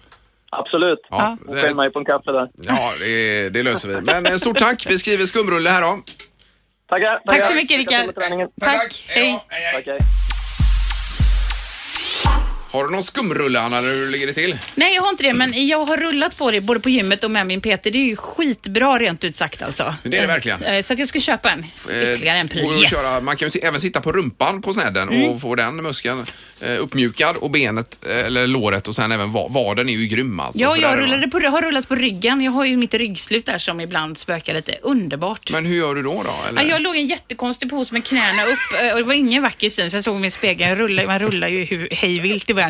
[SPEAKER 4] Absolut.
[SPEAKER 2] Ja,
[SPEAKER 4] Och
[SPEAKER 2] det,
[SPEAKER 4] skäll mig på en kaffe där.
[SPEAKER 2] ja det, det löser vi. Men eh, stort tack. Vi skriver skumrulle här då.
[SPEAKER 4] Tackar! tackar.
[SPEAKER 3] Tack så mycket,
[SPEAKER 4] Lycka till med
[SPEAKER 3] Rickard.
[SPEAKER 4] träningen.
[SPEAKER 3] Tack, hej.
[SPEAKER 2] då. hej, hej.
[SPEAKER 4] Tack, hej.
[SPEAKER 2] Har du någon skumrulle, Anna, eller hur ligger det till? Eh,
[SPEAKER 3] Nej, jag har inte det, men jag har rullat på det både på gymmet och med min PT. Det är ju skitbra rent ut sagt alltså.
[SPEAKER 2] Det är det verkligen.
[SPEAKER 3] Eh, Så att jag ska köpa en.
[SPEAKER 2] Eh,
[SPEAKER 3] Ytterligare en
[SPEAKER 2] och
[SPEAKER 3] pryl. Yes. Mm.
[SPEAKER 2] köra, man kan ju si- även sitta på rumpan på snedden och få den muskeln eh, uppmjukad och benet eh, eller låret och sen även va- vaden är ju grym alltså.
[SPEAKER 3] Ja,
[SPEAKER 2] För
[SPEAKER 3] jag
[SPEAKER 2] där är-
[SPEAKER 3] rullade på, har rullat på ryggen. Jag har ju mitt ryggslut där som ibland spökar lite. Underbart.
[SPEAKER 2] Men hur gör du då? då eller?
[SPEAKER 3] Ja, jag låg i en jättekonstig pose med knäna upp eh, och det var ingen vacker syn för jag såg min spegel. Jag rullade, man rullar ju hu- hejvilt i början.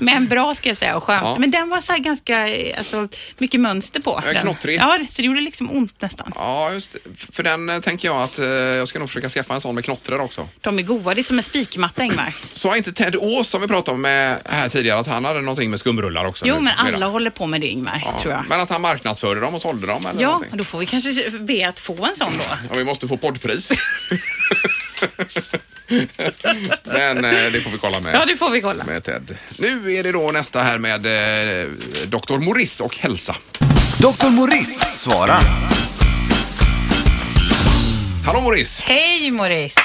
[SPEAKER 3] Men bra ska jag säga och skönt.
[SPEAKER 2] Ja.
[SPEAKER 3] Men den var så här ganska, eh, alltså mycket mönster på.
[SPEAKER 2] Ja,
[SPEAKER 3] den.
[SPEAKER 2] knottrig.
[SPEAKER 3] Ja, så det gjorde liksom ont nästan.
[SPEAKER 2] Ja, just det. F- För den eh, tänker jag att eh, jag ska nog försöka skaffa en sån med knottrar också.
[SPEAKER 3] De är goda, det är som en spikmatta Ingmar.
[SPEAKER 2] Sa inte Ted Ås som vi pratade om eh, här tidigare att han hade någonting med skumrullar också?
[SPEAKER 3] Jo,
[SPEAKER 2] nu,
[SPEAKER 3] men alla
[SPEAKER 2] medan?
[SPEAKER 3] håller på med det Ingmar,
[SPEAKER 2] Ja,
[SPEAKER 3] tror jag.
[SPEAKER 2] Men att han marknadsförde dem och sålde dem eller
[SPEAKER 3] Ja,
[SPEAKER 2] någonting.
[SPEAKER 3] då får vi kanske be att få en sån då.
[SPEAKER 2] Ja, vi måste få poddpris. men eh, det får vi kolla med.
[SPEAKER 3] Ja, det får vi kolla.
[SPEAKER 2] med Ted. Nu är det då nästa här med eh, Dr. Morris och hälsa.
[SPEAKER 1] Dr. Morris svarar.
[SPEAKER 2] Hallå Morris!
[SPEAKER 3] Hej Morris!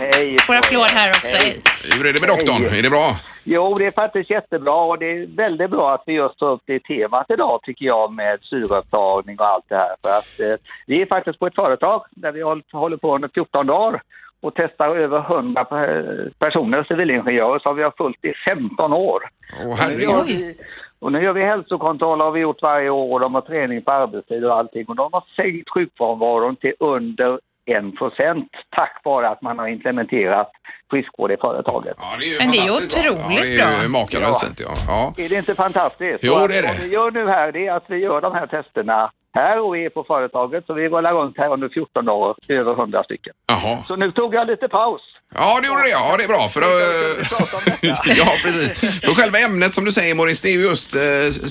[SPEAKER 6] Hej!
[SPEAKER 3] Får applåd här också. Hej.
[SPEAKER 2] Hur är det med doktorn?
[SPEAKER 6] Hej.
[SPEAKER 2] Är det bra?
[SPEAKER 6] Jo, det är faktiskt jättebra och det är väldigt bra att vi just tar upp det temat idag tycker jag med syreupptagning och allt det här. För att eh, vi är faktiskt på ett företag där vi håll- håller på under 14 dagar och testar över 100 pe- personer, civilingenjörer, som vi har följt i 15 år.
[SPEAKER 2] Åh
[SPEAKER 6] Och nu, gör
[SPEAKER 2] herregud.
[SPEAKER 6] vi, och nu gör vi hälsokontroller har vi gjort varje år och de har träning på arbetstid och allting. Och de har sänkt sjukfrånvaron till under 1 procent tack vare att man har implementerat friskvård i företaget.
[SPEAKER 2] Ja, det är ju
[SPEAKER 3] Men det är ju
[SPEAKER 2] fantastiskt bra.
[SPEAKER 3] otroligt
[SPEAKER 2] Ja, det är ju
[SPEAKER 3] bra.
[SPEAKER 2] makalöst
[SPEAKER 6] Ja.
[SPEAKER 2] fint. Ja. Ja.
[SPEAKER 6] Är det inte fantastiskt?
[SPEAKER 2] Jo,
[SPEAKER 6] Och att
[SPEAKER 2] det är det.
[SPEAKER 6] Vad vi gör nu här det är att vi gör de här testerna här och vi är på företaget. Så vi rullar runt här under 14 dagar, över 100 stycken.
[SPEAKER 2] Jaha.
[SPEAKER 6] Så nu tog jag lite paus.
[SPEAKER 2] Ja, det gjorde det. Ja, det är bra. För,
[SPEAKER 6] Jag tänkte att vi skulle
[SPEAKER 2] eh,
[SPEAKER 6] prata om
[SPEAKER 2] ja, precis. För själva ämnet som du säger Morris, det är ju just eh,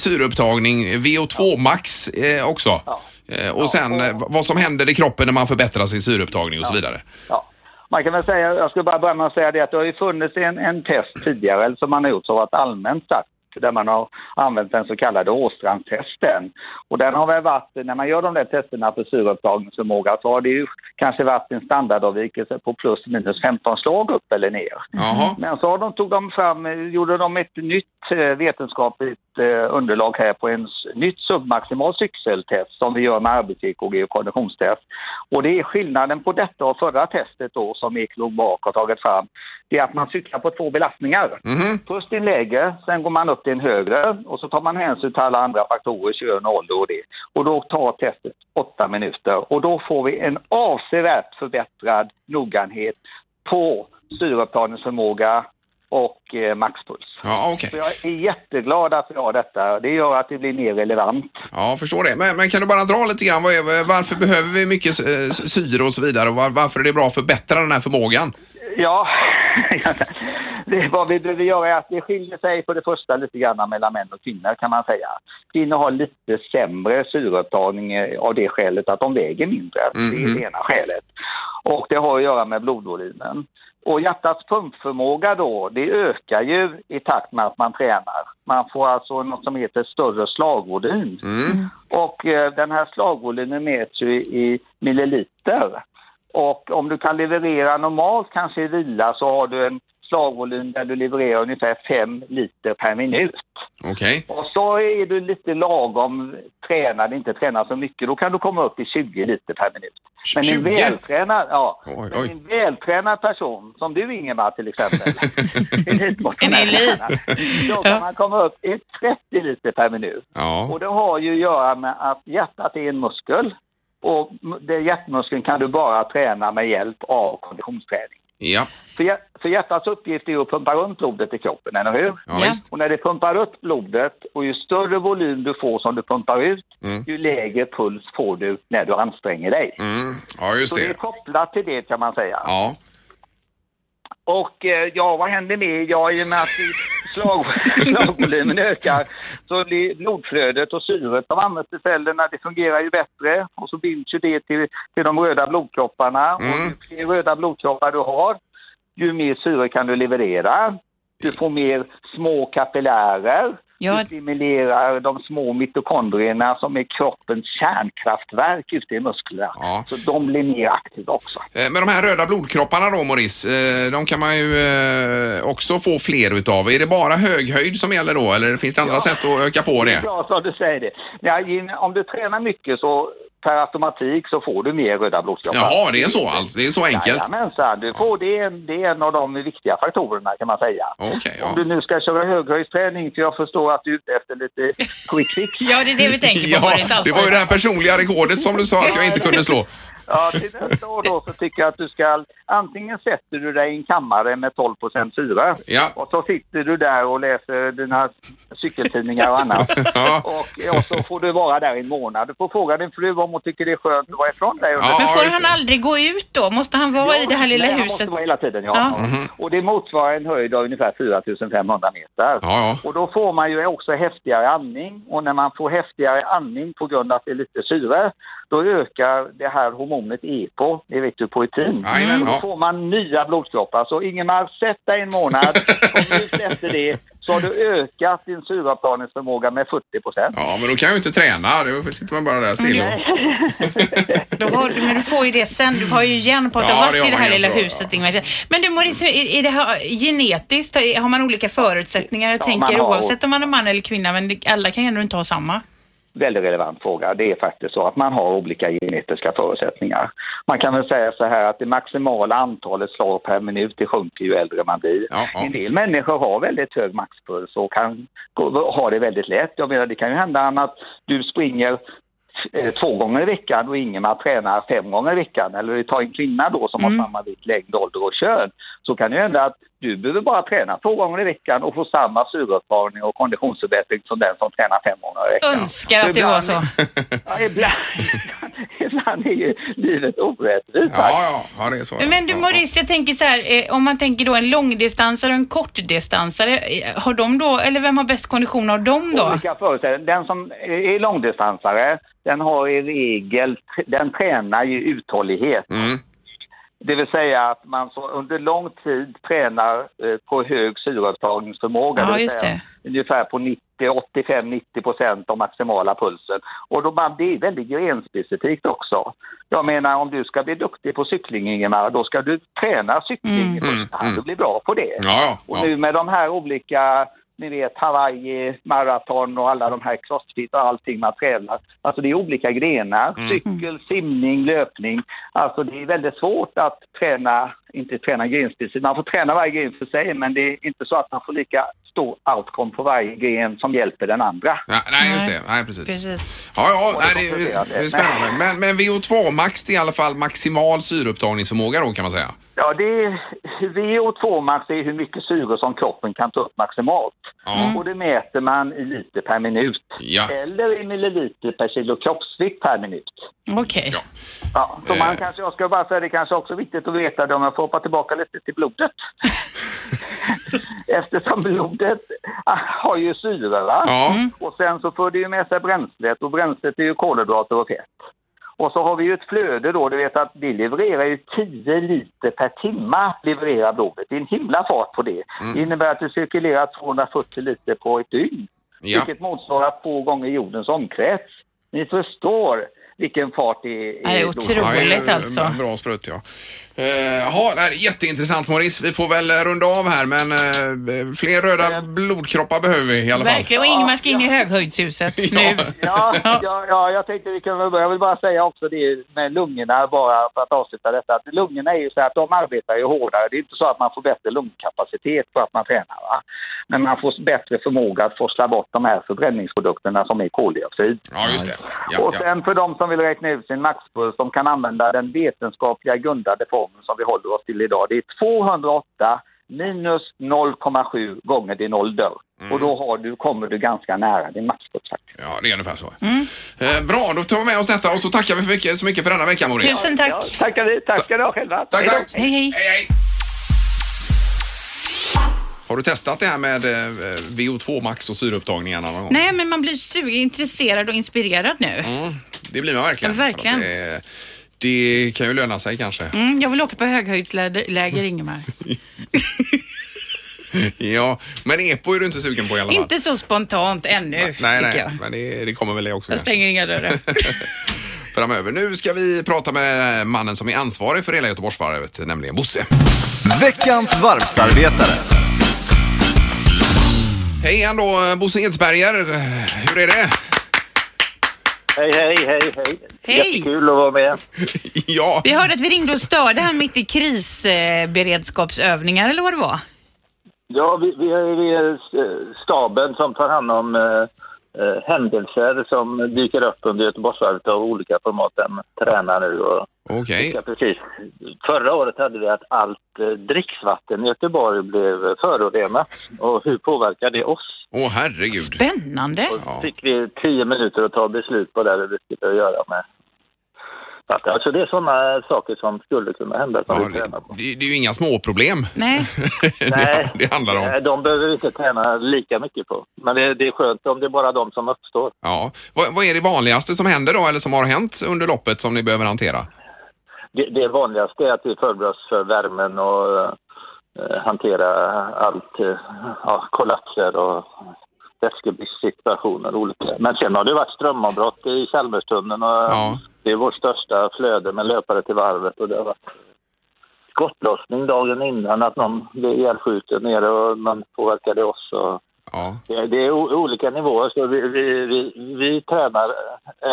[SPEAKER 2] syreupptagning, VO2 max eh, också.
[SPEAKER 6] Ja.
[SPEAKER 2] Eh, och sen eh, vad som händer i kroppen när man förbättrar sin syreupptagning och så vidare.
[SPEAKER 6] Ja. Man kan väl säga, jag skulle bara börja med att säga det att det har ju funnits en, en test tidigare eller som man har gjort som varit allmänt sagt där man har använt den så kallade Åstrandstesten. Och den har väl varit, när man gör de där testerna för syreupptagningsförmåga så har det ju kanske varit en standardavvikelse på plus minus 15 slag upp eller ner.
[SPEAKER 2] Jaha.
[SPEAKER 6] Men så har de, tog de fram, eh, gjorde de ett nytt eh, vetenskapligt eh, underlag här på en s- nytt submaximal cykeltest som vi gör med arbets-EKG och konditionstest. Och det är skillnaden på detta och förra testet då som E Eklog Bak har tagit fram. Det är att man cyklar på två belastningar.
[SPEAKER 2] mhm.
[SPEAKER 6] Först i en lägre, sen går man upp till en högre och så tar man hänsyn till alla andra faktorer, kön, ålder och det. Och då tar testet åtta minuter och då får vi en avsevärt förbättrad noggrannhet på syreupptagningsförmåga och eh, maxpuls.
[SPEAKER 2] Ja, okej.
[SPEAKER 6] Så jag är jätteglad att vi har detta. Det gör att det blir mer relevant.
[SPEAKER 2] Ja, jag förstår det. Men, men kan du bara dra lite grann, vad är, varför behöver vi mycket eh, syre och så vidare och var, varför är det bra att förbättra den här förmågan?
[SPEAKER 6] Ja, det, vad vi behöver göra är att det skiljer sig för det första lite grann mellan män och kvinnor kan man säga. Kvinnor har lite sämre syreupptagning eh, av det skälet att de väger mindre. Det är det ena skälet. Och det har att göra med blodvolymen. Och hjärtats pumpförmåga då, det ökar ju i takt med att man tränar. Man får alltså något som heter större slagvolym.
[SPEAKER 2] Mm,
[SPEAKER 6] Och eh, den här slagvolymen mäts ju i milliliter. Och om du kan leverera normalt kanske i vila så har du en slagvolym där du levererar ungefär 5 liter per minut.
[SPEAKER 2] Okej.
[SPEAKER 6] Och så är du lite lagom tränad, inte tränad så mycket, då kan du komma upp i 20 liter per minut. Men
[SPEAKER 2] 20?
[SPEAKER 6] en vältränad, ja,
[SPEAKER 2] Oj,
[SPEAKER 6] men
[SPEAKER 2] oj.
[SPEAKER 6] en vältränad person, som du Ingemar till exempel,
[SPEAKER 3] En elit.
[SPEAKER 6] då kan man komma upp i 30 liter per minut.
[SPEAKER 2] Ja.
[SPEAKER 6] Och det har ju att göra med att hjärtat är en muskel och m- det hjärtmuskeln kan du bara träna med hjälp av konditionsträning.
[SPEAKER 2] Ja.
[SPEAKER 6] För, hjär- för hjärtats uppgift är att pumpa runt blodet i kroppen, eller hur?
[SPEAKER 2] Ja,
[SPEAKER 3] Ja.
[SPEAKER 2] visst.
[SPEAKER 6] Och när det pumpar upp blodet och ju större volym du får som du pumpar ut, ju lägre puls får du när du anstränger dig.
[SPEAKER 2] Mm. Ja, just
[SPEAKER 6] Så det är
[SPEAKER 2] det.
[SPEAKER 6] kopplat till det kan man säga.
[SPEAKER 2] Ja.
[SPEAKER 6] Och eh, ja, vad händer med? Ja, i och med att slag, slagvolymen ökar så blir blodflödet och syret som används i cellerna, det fungerar ju bättre. Och så binds ju det till, till de röda blodkropparna. Och ju fler röda blodkroppar du har, ju mer syre kan du leverera. Du får mer små kapillärer.
[SPEAKER 3] Ja.
[SPEAKER 6] Du stimulerar de små mitokondrierna som är kroppens kärnkraftverk ute i musklerna.
[SPEAKER 2] Ja.
[SPEAKER 6] Så de blir mer aktiva också.
[SPEAKER 2] Eh, Men de här röda blodkropparna då, Maurice, eh, de kan man ju eh, också få fler utav. Är det bara höghöjd som gäller då, eller finns det andra sätt att öka på
[SPEAKER 6] Det
[SPEAKER 2] det?
[SPEAKER 6] är bra att du säger det. Ja, Jim, om du tränar mycket så per automatik så får du mer röda blodkroppar.
[SPEAKER 2] Jaha, det är så alltså? Det är så enkelt?
[SPEAKER 6] Jajamensan, du får det, är- det är en av de viktiga faktorerna kan man säga.
[SPEAKER 2] Okej,
[SPEAKER 6] Om du
[SPEAKER 2] ja.
[SPEAKER 6] nu ska köra höghöjdsträning, för jag förstår att du är ute efter lite quick fix.
[SPEAKER 3] Ja, det är det vi tänker på. Boris,
[SPEAKER 2] ja.
[SPEAKER 3] alltid.
[SPEAKER 2] Det var ju det här personliga rekordet som du sa att jag inte kunde slå.
[SPEAKER 6] Ja, till nästa år då så tycker jag att du ska, antingen sätter du dig i en kammare med 12 syra
[SPEAKER 2] Ja.
[SPEAKER 6] och så sitter du där och läser dina cykeltidningar och annat.
[SPEAKER 2] Ja.
[SPEAKER 6] Och, och så får du vara där i en månad. Du får fråga din fru om hon tycker det är skönt att vara ifrån dig.
[SPEAKER 2] Ja,
[SPEAKER 3] Men
[SPEAKER 2] just
[SPEAKER 3] får han
[SPEAKER 2] det.
[SPEAKER 3] aldrig gå ut då? Måste han vara i det här lilla
[SPEAKER 6] nej, han
[SPEAKER 3] huset?
[SPEAKER 6] måste vara hela tiden, ja.
[SPEAKER 3] Ja.
[SPEAKER 2] Mhm.
[SPEAKER 6] Och det motsvarar en höjd av ungefär 4500 meter.
[SPEAKER 2] Ja, ja.
[SPEAKER 6] Och då får man ju också häftigare andning och när man får häftigare andning på grund av att det är lite syre, då ökar det här hormonet EPO, det vet du, poetin. Mm.
[SPEAKER 2] Jajamän,
[SPEAKER 6] Då
[SPEAKER 2] ja.
[SPEAKER 6] får man nya blodkroppar. Så Ingemar, sätt dig en månad och ut efter det så har du ökat din syreavplaningsförmåga med 40 procent.
[SPEAKER 2] Ja, men då kan jag ju inte träna. Då sitter man bara där still. och-
[SPEAKER 3] Då har, men du får ju det sen. Du har ju igen på att
[SPEAKER 2] Ja,
[SPEAKER 3] du har
[SPEAKER 2] det
[SPEAKER 3] varit
[SPEAKER 2] har
[SPEAKER 3] i det
[SPEAKER 2] man
[SPEAKER 3] här
[SPEAKER 2] igen,
[SPEAKER 3] lilla
[SPEAKER 2] så, ja.
[SPEAKER 3] huset, Ingvar. Men du Maurice, hur- är, är det här genetiskt? Har man olika förutsättningar? Jag
[SPEAKER 6] Ja, man
[SPEAKER 3] tänker
[SPEAKER 6] har-
[SPEAKER 3] oavsett om man är man eller kvinna, men det- alla kan ju ändå inte ha samma.
[SPEAKER 6] väldigt relevant fråga. Det är faktiskt så att man har olika genetiska förutsättningar. Man kan väl säga så här att det maximala antalet slag per minut det sjunker ju äldre man blir.
[SPEAKER 2] Ja, ja.
[SPEAKER 6] En del människor har väldigt hög maxpuls och kan gå- ha det väldigt lätt. Jag menar, det kan ju hända att du springer eh, två gånger i veckan och Ingemar tränar fem gånger i veckan. Eller ta en kvinna då som
[SPEAKER 2] Mm.
[SPEAKER 6] har samma vikt, längd, ålder och kön. Så kan det ju hända att du behöver bara träna två gånger i veckan och få samma syreupptagning och konditionsförbättring som den som tränar fem gånger i veckan.
[SPEAKER 3] Önskar att det
[SPEAKER 6] Ibland-
[SPEAKER 3] var så.
[SPEAKER 6] Ja, ibland, ibland är ju livet orättvist.
[SPEAKER 2] Ja, ja, ja, det är så. ja.
[SPEAKER 3] Men du
[SPEAKER 2] Ja,
[SPEAKER 3] Maurice, jag tänker så här, eh, om man tänker då en långdistansare och en kortdistansare, eh, har de då, eller vem har bäst kondition av dem då?
[SPEAKER 6] Olika förutsättningar. Den som är långdistansare, den har i regel, den tränar ju uthållighet.
[SPEAKER 2] ja. Mm.
[SPEAKER 6] Det vill säga att man så under lång tid tränar eh, på hög syreupptagningsförmåga.
[SPEAKER 3] Ja,
[SPEAKER 6] vill
[SPEAKER 3] just
[SPEAKER 6] säga Ungefär på 90, 85-90 procent av maximala pulsen. Och då man, det är väldigt grenspecifikt också. Jag menar om du ska bli duktig på cykling Ingemar, då ska du träna
[SPEAKER 3] Mm.
[SPEAKER 6] cykling i första hand. Du blir bra på det.
[SPEAKER 2] ja,
[SPEAKER 6] Och
[SPEAKER 2] ja. ja.
[SPEAKER 6] nu med de här olika, ni vet Hawaii, maraton och alla de här crossfit och allting man tränar. Alltså det är olika grenar,
[SPEAKER 2] Mm.
[SPEAKER 6] cykel, simning, löpning. Alltså det är väldigt svårt att träna, inte träna grenspecifikt. Man får träna varje gren för sig men det är inte så att man får lika stor outcome på varje gren som hjälper den andra.
[SPEAKER 2] Ja, nej, just det. Nej, precis. Ja, ja, nej, det, är- det är spännande. Men, men VO2 max det är i alla fall maximal syreupptagningsförmåga då kan man säga.
[SPEAKER 6] Ja, det är VO2 max, det är hur mycket syre som kroppen kan ta upp maximalt.
[SPEAKER 2] Ja. Mm.
[SPEAKER 6] Och det mäter man i liter per minut.
[SPEAKER 2] Ja.
[SPEAKER 3] Eh,
[SPEAKER 6] Eller i milliliter per kilo kroppsvikt per minut.
[SPEAKER 3] Okej.
[SPEAKER 2] Ja.
[SPEAKER 6] Ja, så man
[SPEAKER 2] Eh.
[SPEAKER 6] kanske, jag ska bara säga det kanske också är viktigt att veta det om jag får hoppa tillbaka lite till blodet. Eftersom blodet ah, har ju syre va?
[SPEAKER 2] Ja.
[SPEAKER 3] mm.
[SPEAKER 6] Och sen så för det ju med sig bränslet och bränslet är ju kolhydrater och fett. Och så har vi ju ett flöde då, du vet att vi levererar ju 10 liter per timma levererar blodet. Det är en himla fart på det.
[SPEAKER 2] Mm.
[SPEAKER 6] Det innebär att du cirkulerar 240 liter på ett dygn.
[SPEAKER 2] Ja.
[SPEAKER 6] Vilket motsvarar två gånger jordens omkrets. Ni förstår vilken fart det är.
[SPEAKER 3] Det är
[SPEAKER 6] då.
[SPEAKER 3] otroligt.
[SPEAKER 2] Ja, det är
[SPEAKER 3] Roligt alltså.
[SPEAKER 2] en Bra sprutt ja. Eh, ja, det här är jätteintressant Maurice. Vi får väl eh, runda av här men eh, fler röda blodkroppar behöver vi i alla fall.
[SPEAKER 3] Verkligen, och Ingmar ska in i höghöjdshuset nu.
[SPEAKER 6] Ja, ja, ja, jag tänkte vi kunde börja. Jag vill bara säga också det med lungorna bara för att avsluta detta. Att lungorna är ju så här att de arbetar ju hårdare. Det är inte så att man får bättre lungkapacitet för att man tränar. Va? Men man får bättre förmåga att forsla bort de här förbränningsprodukterna som är koldioxid.
[SPEAKER 2] Ja, just det. Ja,
[SPEAKER 6] Och
[SPEAKER 2] ja.
[SPEAKER 6] sen för de som vill räkna ut sin maxpuls, de kan använda den vetenskapliga grundade formeln som vi håller oss till idag. Det är 208 minus 0,7 gånger din ålder.
[SPEAKER 2] Mm.
[SPEAKER 6] Och då har du, kommer du ganska nära din maxpuls faktiskt.
[SPEAKER 2] ja, det är ungefär så.
[SPEAKER 3] Mm.
[SPEAKER 2] Eh, bra, då tar vi med oss detta och så tackar vi för mycket, så mycket för denna vecka Maurice.
[SPEAKER 3] Tusen tack.
[SPEAKER 6] Ja, tackar vi. Tackar du själva.
[SPEAKER 2] Tack, tack.
[SPEAKER 3] Hej, hej.
[SPEAKER 2] Hej, hej. Har du testat det här med eh, VO2 max och syreupptagningarna någon gång?
[SPEAKER 3] Nej, men man blir sugen, intresserad och inspirerad nu.
[SPEAKER 2] Mm, det blir man verkligen.
[SPEAKER 3] Ja, verkligen.
[SPEAKER 2] Det, det kan ju löna sig kanske.
[SPEAKER 3] Mm, jag vill åka på höghöjdsläger, Ingemar.
[SPEAKER 2] Ja, men EPO är du inte sugen på i alla fall?
[SPEAKER 3] Inte så spontant ännu,
[SPEAKER 2] nej,
[SPEAKER 3] tycker
[SPEAKER 2] nej,
[SPEAKER 3] jag.
[SPEAKER 2] men det, det kommer väl det också
[SPEAKER 3] Jag
[SPEAKER 2] kanske,
[SPEAKER 3] stänger inga dörrar.
[SPEAKER 2] framöver. Nu ska vi prata med mannen som är ansvarig för hela Göteborgsvarvet, nämligen Bosse.
[SPEAKER 1] Veckans varvsarbetare.
[SPEAKER 2] Hej igen då, Bosse Edsberger. Hur är det?
[SPEAKER 6] Hej, hej, hej, hej.
[SPEAKER 3] Hej.
[SPEAKER 6] Jättekul att vara med.
[SPEAKER 2] Ja,
[SPEAKER 3] Vi hörde att vi ringde och störde här mitt i krisberedskapsövningar eller vad det var.
[SPEAKER 6] Ja, vi, vi har ju eh, s- staben som tar hand om eh, eh, händelser som dyker upp under Göteborgsvarvet av olika format. Den tränar nu och
[SPEAKER 2] okej.
[SPEAKER 6] Ja, precis. Förra året hade vi att allt eh, dricksvatten i Göteborg blev eh, förorenat. Och hur påverkar det oss?
[SPEAKER 2] Åh, herregud.
[SPEAKER 3] Spännande.
[SPEAKER 2] Ja.
[SPEAKER 6] fick vi tio minuter att ta beslut på det vi skulle göra med vatten. Alltså det är sådana saker som skulle kunna hända som
[SPEAKER 2] Ja,
[SPEAKER 6] vi tränar
[SPEAKER 2] det,
[SPEAKER 6] på.
[SPEAKER 2] det, det är ju inga småproblem
[SPEAKER 3] Nej,
[SPEAKER 2] det, det handlar om.
[SPEAKER 6] nej, Eh, de behöver vi inte träna lika mycket på. Men det, det är skönt om det är bara de som uppstår.
[SPEAKER 2] Ja. Vad, vad är det vanligaste som händer då, eller som har hänt under loppet som ni behöver hantera?
[SPEAKER 6] Det, det vanligaste är att vi förbereder oss för värmen och eh, hantera allt, eh, ja, kollapser och vätskebristsituationer och olika. Men sen har det varit strömavbrott i Chalmerstunneln och
[SPEAKER 2] Ja.
[SPEAKER 6] det är vårt största flöde med löpare till varvet och det har varit skottlossning dagen innan att någon blir elskjuten nere och man påverkade oss. Och
[SPEAKER 2] Ja.
[SPEAKER 6] det, det är o- olika nivåer så vi, vi, vi, vi tränar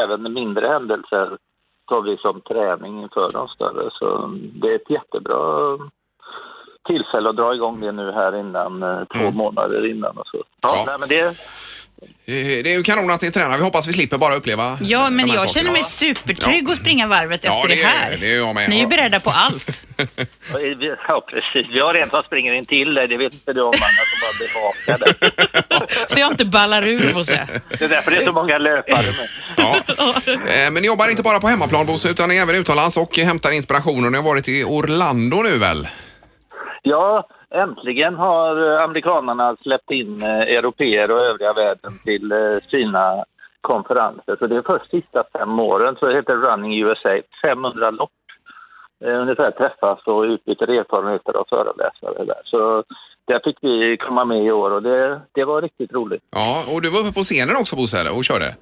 [SPEAKER 6] även mindre händelser tar vi som träning inför de större så det är ett jättebra tillfälle att dra igång det nu här innan, eh, två
[SPEAKER 2] Mm.
[SPEAKER 6] månader innan och så. Ja,
[SPEAKER 2] Ja.
[SPEAKER 6] Nej, men det,
[SPEAKER 2] Eh, Det är ju kanon att ni tränar. Vi hoppas vi slipper bara uppleva
[SPEAKER 3] ja
[SPEAKER 2] eh,
[SPEAKER 3] men
[SPEAKER 2] de här sakerna.
[SPEAKER 3] jag känner mig supertrygg att springa varvet
[SPEAKER 2] Ja,
[SPEAKER 3] efter
[SPEAKER 2] det
[SPEAKER 3] det,
[SPEAKER 2] är-
[SPEAKER 3] här.
[SPEAKER 2] det är jag med.
[SPEAKER 3] Ni är ju
[SPEAKER 2] Ja.
[SPEAKER 3] beredda på allt.
[SPEAKER 6] vi- ja, precis. Vi har en som springer in till dig, det vet inte du om annars som bara bevakar dig.
[SPEAKER 3] Så jag inte ballar ur, Bosse.
[SPEAKER 6] Det är därför det är så många löpare med.
[SPEAKER 2] Ja. Eh, Men ni jobbar inte bara på hemmaplan Bosse, utan ni är även utomlands och hämtar inspiration. Och ni har varit i Orlando nu väl?
[SPEAKER 6] Ja, äntligen har eh, amerikanarna släppt in eh, europeer och övriga världen till eh, sina konferenser. Så det är först sista fem åren, så det heter Running USA, 500 lopp. Eh, Ungefär träffas och utbyter erfarenheter av föreläsare där. Så där fick vi komma med i år och det, det var riktigt roligt.
[SPEAKER 2] Ja, och du var uppe på scenen också Bosse eller? och körde?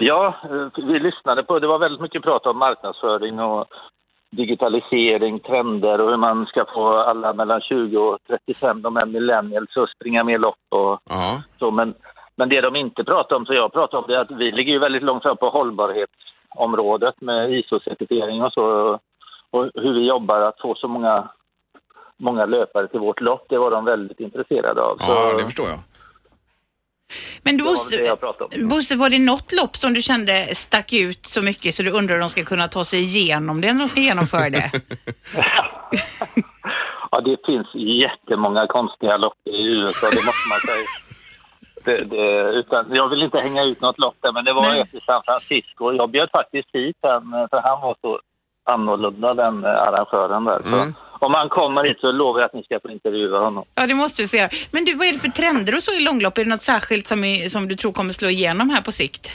[SPEAKER 6] Ja, eh, vi lyssnade på, det var väldigt mycket prat om marknadsföring och digitalisering, trender och hur man ska få alla mellan 20 och 35, de här millennials, att springa med lopp och
[SPEAKER 2] Ja.
[SPEAKER 6] så. Men, men det de inte pratar om, så jag pratar om, det är att vi ligger ju väldigt långt fram på hållbarhetsområdet med ISO-certifiering och så. Och hur vi jobbar att få så många, många löpare till vårt lopp, det var de väldigt intresserade av.
[SPEAKER 2] ja,
[SPEAKER 6] så,
[SPEAKER 2] det förstår jag.
[SPEAKER 3] Men
[SPEAKER 6] det var väl det
[SPEAKER 3] Bosse,
[SPEAKER 6] jag pratade om.
[SPEAKER 3] Bosse, var det något lopp som du kände stack ut så mycket så du undrar hur de ska kunna ta sig igenom det när de ska genomföra det?
[SPEAKER 6] Ja, det finns jättemånga konstiga lopp i USA, det måste man säga. Det, det, utan, jag vill inte hänga ut något lopp där, men det var
[SPEAKER 3] Nej.
[SPEAKER 6] ett i San Francisco. Jag bjöd faktiskt hit den, för han var så annorlunda, den eh, arrangören där. Så, om han kommer hit så lovar jag att ni ska få intervjua honom.
[SPEAKER 3] Ja, det måste vi få göra. Men du, vad är det för trender och så i långlopp? Är det något särskilt som, är, som du tror kommer slå igenom här på sikt?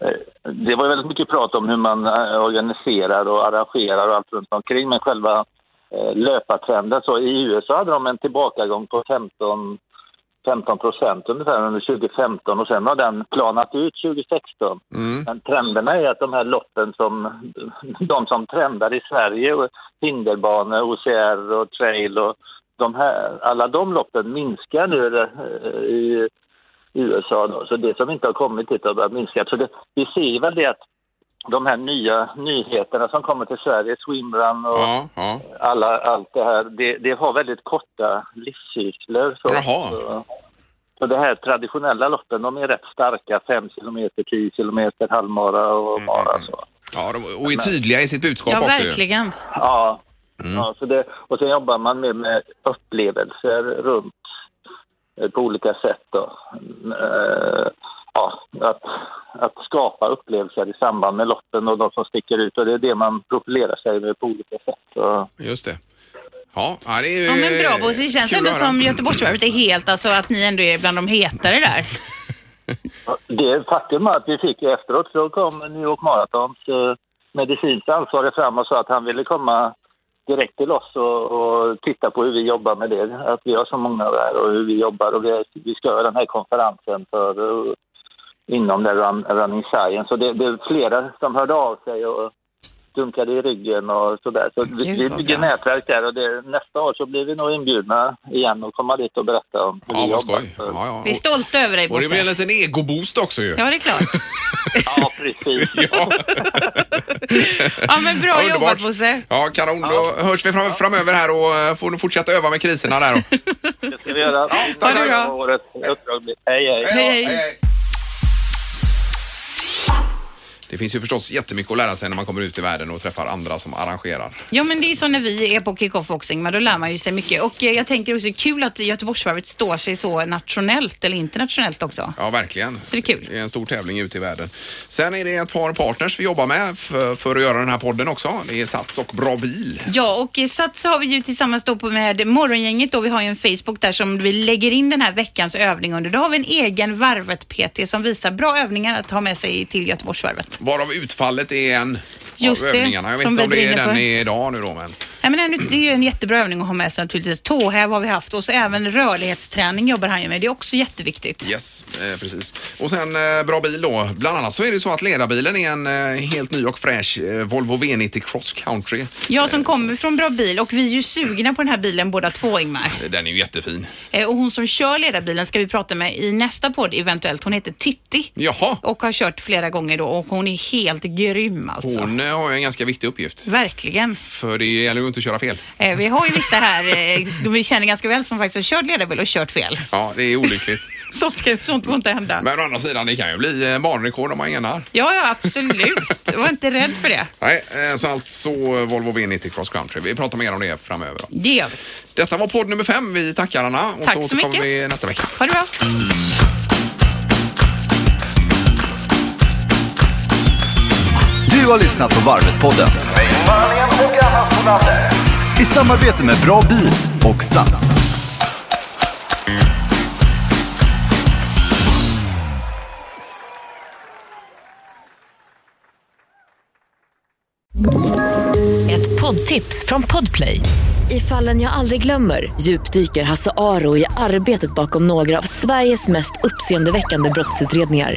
[SPEAKER 6] Eh, Det var ju väldigt mycket prat om hur man eh, organiserar och arrangerar och allt runt omkring, men själva eh, löpartrenden så i USA hade de en tillbakagång på 15 15 procent ungefär under 2015 och sen har den planat ut 2016. Men trenderna är att de här loppen som de som trendar i Sverige, och hinderbanor, OCR och trail och de här, alla de loppen minskar nu eh, i USA då. Så det som inte har kommit hit har börjat minska. Så det, vi ser väl det att de här nya nyheterna som kommer till Sverige, swimrun och
[SPEAKER 2] Ja, ja.
[SPEAKER 6] alla, allt det här, det, det har väldigt korta livscykler. Så,
[SPEAKER 2] Jaha.
[SPEAKER 6] Så, så det här traditionella loppen, de är rätt starka, 5 kilometer, 10 kilometer, halvmara och mara. Så.
[SPEAKER 2] ja de, och är tydliga i sitt budskap
[SPEAKER 3] Ja,
[SPEAKER 2] också. ju.
[SPEAKER 3] verkligen.
[SPEAKER 6] Ja. Ja, så det, och sen jobbar man med, med upplevelser runt eh, på olika sätt. Då. Mm, eh, Ja, att, att skapa upplevelser i samband med loppen och de som sticker ut. Och det är det man profilerar sig med på olika sätt. Och,
[SPEAKER 2] Just det. Ja, ja, det är ju...
[SPEAKER 3] Ja men bra Bosse, det känns
[SPEAKER 2] Eh, kul
[SPEAKER 3] ändå
[SPEAKER 2] att höra.
[SPEAKER 3] som Göteborgsvarvet är helt, alltså att ni ändå är bland de hetare där.
[SPEAKER 6] Det faktum att vi fick efteråt så kom New York Marathons eh, medicinskt ansvarig fram och sa att han ville komma direkt till oss och, och titta på hur vi jobbar med det. Att vi har så många där och hur vi jobbar och vi, vi ska göra den här konferensen för, eh, inom det run, Running Science. Och det, det är flera som hörde av sig och dunkade i ryggen och sådär. Så vi,
[SPEAKER 3] Gud,
[SPEAKER 6] vi
[SPEAKER 3] vad
[SPEAKER 6] bygger
[SPEAKER 3] bra.
[SPEAKER 6] nätverk där och det, nästa år så blir vi nog inbjudna igen och komma dit och berätta om hur
[SPEAKER 2] Ja,
[SPEAKER 6] vi
[SPEAKER 2] vad
[SPEAKER 6] jobbar.
[SPEAKER 2] skoj. Ja, ja.
[SPEAKER 3] Vi är stolta över dig
[SPEAKER 2] Och det blir en
[SPEAKER 3] Bosse.
[SPEAKER 2] liten egoboost också ju.
[SPEAKER 3] Ja, det är klart.
[SPEAKER 6] Ja, precis.
[SPEAKER 2] Ja,
[SPEAKER 3] Ja, men bra
[SPEAKER 2] underbart.
[SPEAKER 3] jobbat Bosse.
[SPEAKER 2] Ja, kanon. Då hörs vi fram, framöver här och eh, får du fortsätta öva med kriserna där. då.
[SPEAKER 6] Det ska vi göra.
[SPEAKER 2] ha det
[SPEAKER 3] bra.
[SPEAKER 6] Årets uppdrag blir- Hej, hej.
[SPEAKER 3] Hej,
[SPEAKER 2] Ja,
[SPEAKER 3] hej.
[SPEAKER 2] Det finns ju förstås jättemycket att lära sig när man kommer ut i världen och träffar andra som arrangerar.
[SPEAKER 3] Ja, men det är ju så när vi är på kick-off också, men då lär man ju sig mycket. Och eh, jag tänker också, kul att Göteborgsvarvet står sig så nationellt eller internationellt också.
[SPEAKER 2] Ja, verkligen.
[SPEAKER 3] Så det är kul.
[SPEAKER 2] Det är en stor tävling ute i världen. Sen är det ett par partners vi jobbar med för, för att göra den här podden också. Det är Sats och Bra Bil.
[SPEAKER 3] Ja, och eh, Sats har vi ju tillsammans då på med Morgongänget då. Vi har ju en Facebook där som vi lägger in den här veckans övning under. Då har vi en egen Varvet-PT som visar bra övningar att ha med sig till Göteborgsvarvet.
[SPEAKER 2] Varav utfallet är en
[SPEAKER 3] Just
[SPEAKER 2] av
[SPEAKER 3] det,
[SPEAKER 2] övningarna. Jag vet
[SPEAKER 3] som
[SPEAKER 2] inte om
[SPEAKER 3] vi
[SPEAKER 2] det är
[SPEAKER 3] brinner
[SPEAKER 2] den
[SPEAKER 3] för.
[SPEAKER 2] är idag nu då, men
[SPEAKER 3] Nej, men ännu- det är ju en jättebra övning att ha med sig naturligtvis. Tåhäv har vi haft och så även rörlighetsträning jobbar han ju med. Det är också jätteviktigt.
[SPEAKER 2] yes, eh, precis. Och sen eh, Bra Bil då. Bland annat så är det så att ledarbilen är en eh, helt ny och fräsch eh, Volvo V90 Cross Country.
[SPEAKER 3] Jag som kommer från Bra bil och vi är ju sugna på den här bilen båda två Ingmar.
[SPEAKER 2] Den är ju jättefin.
[SPEAKER 3] Eh, Och hon som kör ledarbilen ska vi prata med i nästa podd eventuellt. Hon heter Titti
[SPEAKER 2] Jaha,
[SPEAKER 3] och har kört flera gånger då och hon är helt grym alltså.
[SPEAKER 2] hon eh, har ju en ganska viktig uppgift.
[SPEAKER 3] Verkligen.
[SPEAKER 2] För det gäller ju inte att köra fel.
[SPEAKER 3] Eh, Vi har ju vissa här eh, som vi känner ganska väl som faktiskt har kört ledarbil och kört fel.
[SPEAKER 2] Ja, det är olyckligt.
[SPEAKER 3] Sånt, kan- sånt får inte hända.
[SPEAKER 2] Men å andra sidan, det kan ju bli eh, banrekord om man enar.
[SPEAKER 3] Ja, ja, absolut. Var inte rädd för det.
[SPEAKER 2] Nej, eh, så alltså Volvo V90 Cross Country. Vi pratar mer om det framöver. då.
[SPEAKER 3] Det gör vi.
[SPEAKER 2] Detta var podd nummer fem. Vi tackar Anna och så
[SPEAKER 3] Tack så
[SPEAKER 2] återkommer
[SPEAKER 3] mycket.
[SPEAKER 2] vi nästa vecka.
[SPEAKER 3] Ha det bra.
[SPEAKER 1] Du har lyssnat på Varvet-podden. I samarbete med Bra Bil och Sats.
[SPEAKER 7] Ett poddtips från Podplay. I fallen jag aldrig glömmer djupdyker Hasse Aro i arbetet bakom några av Sveriges mest uppseendeväckande brottsutredningar.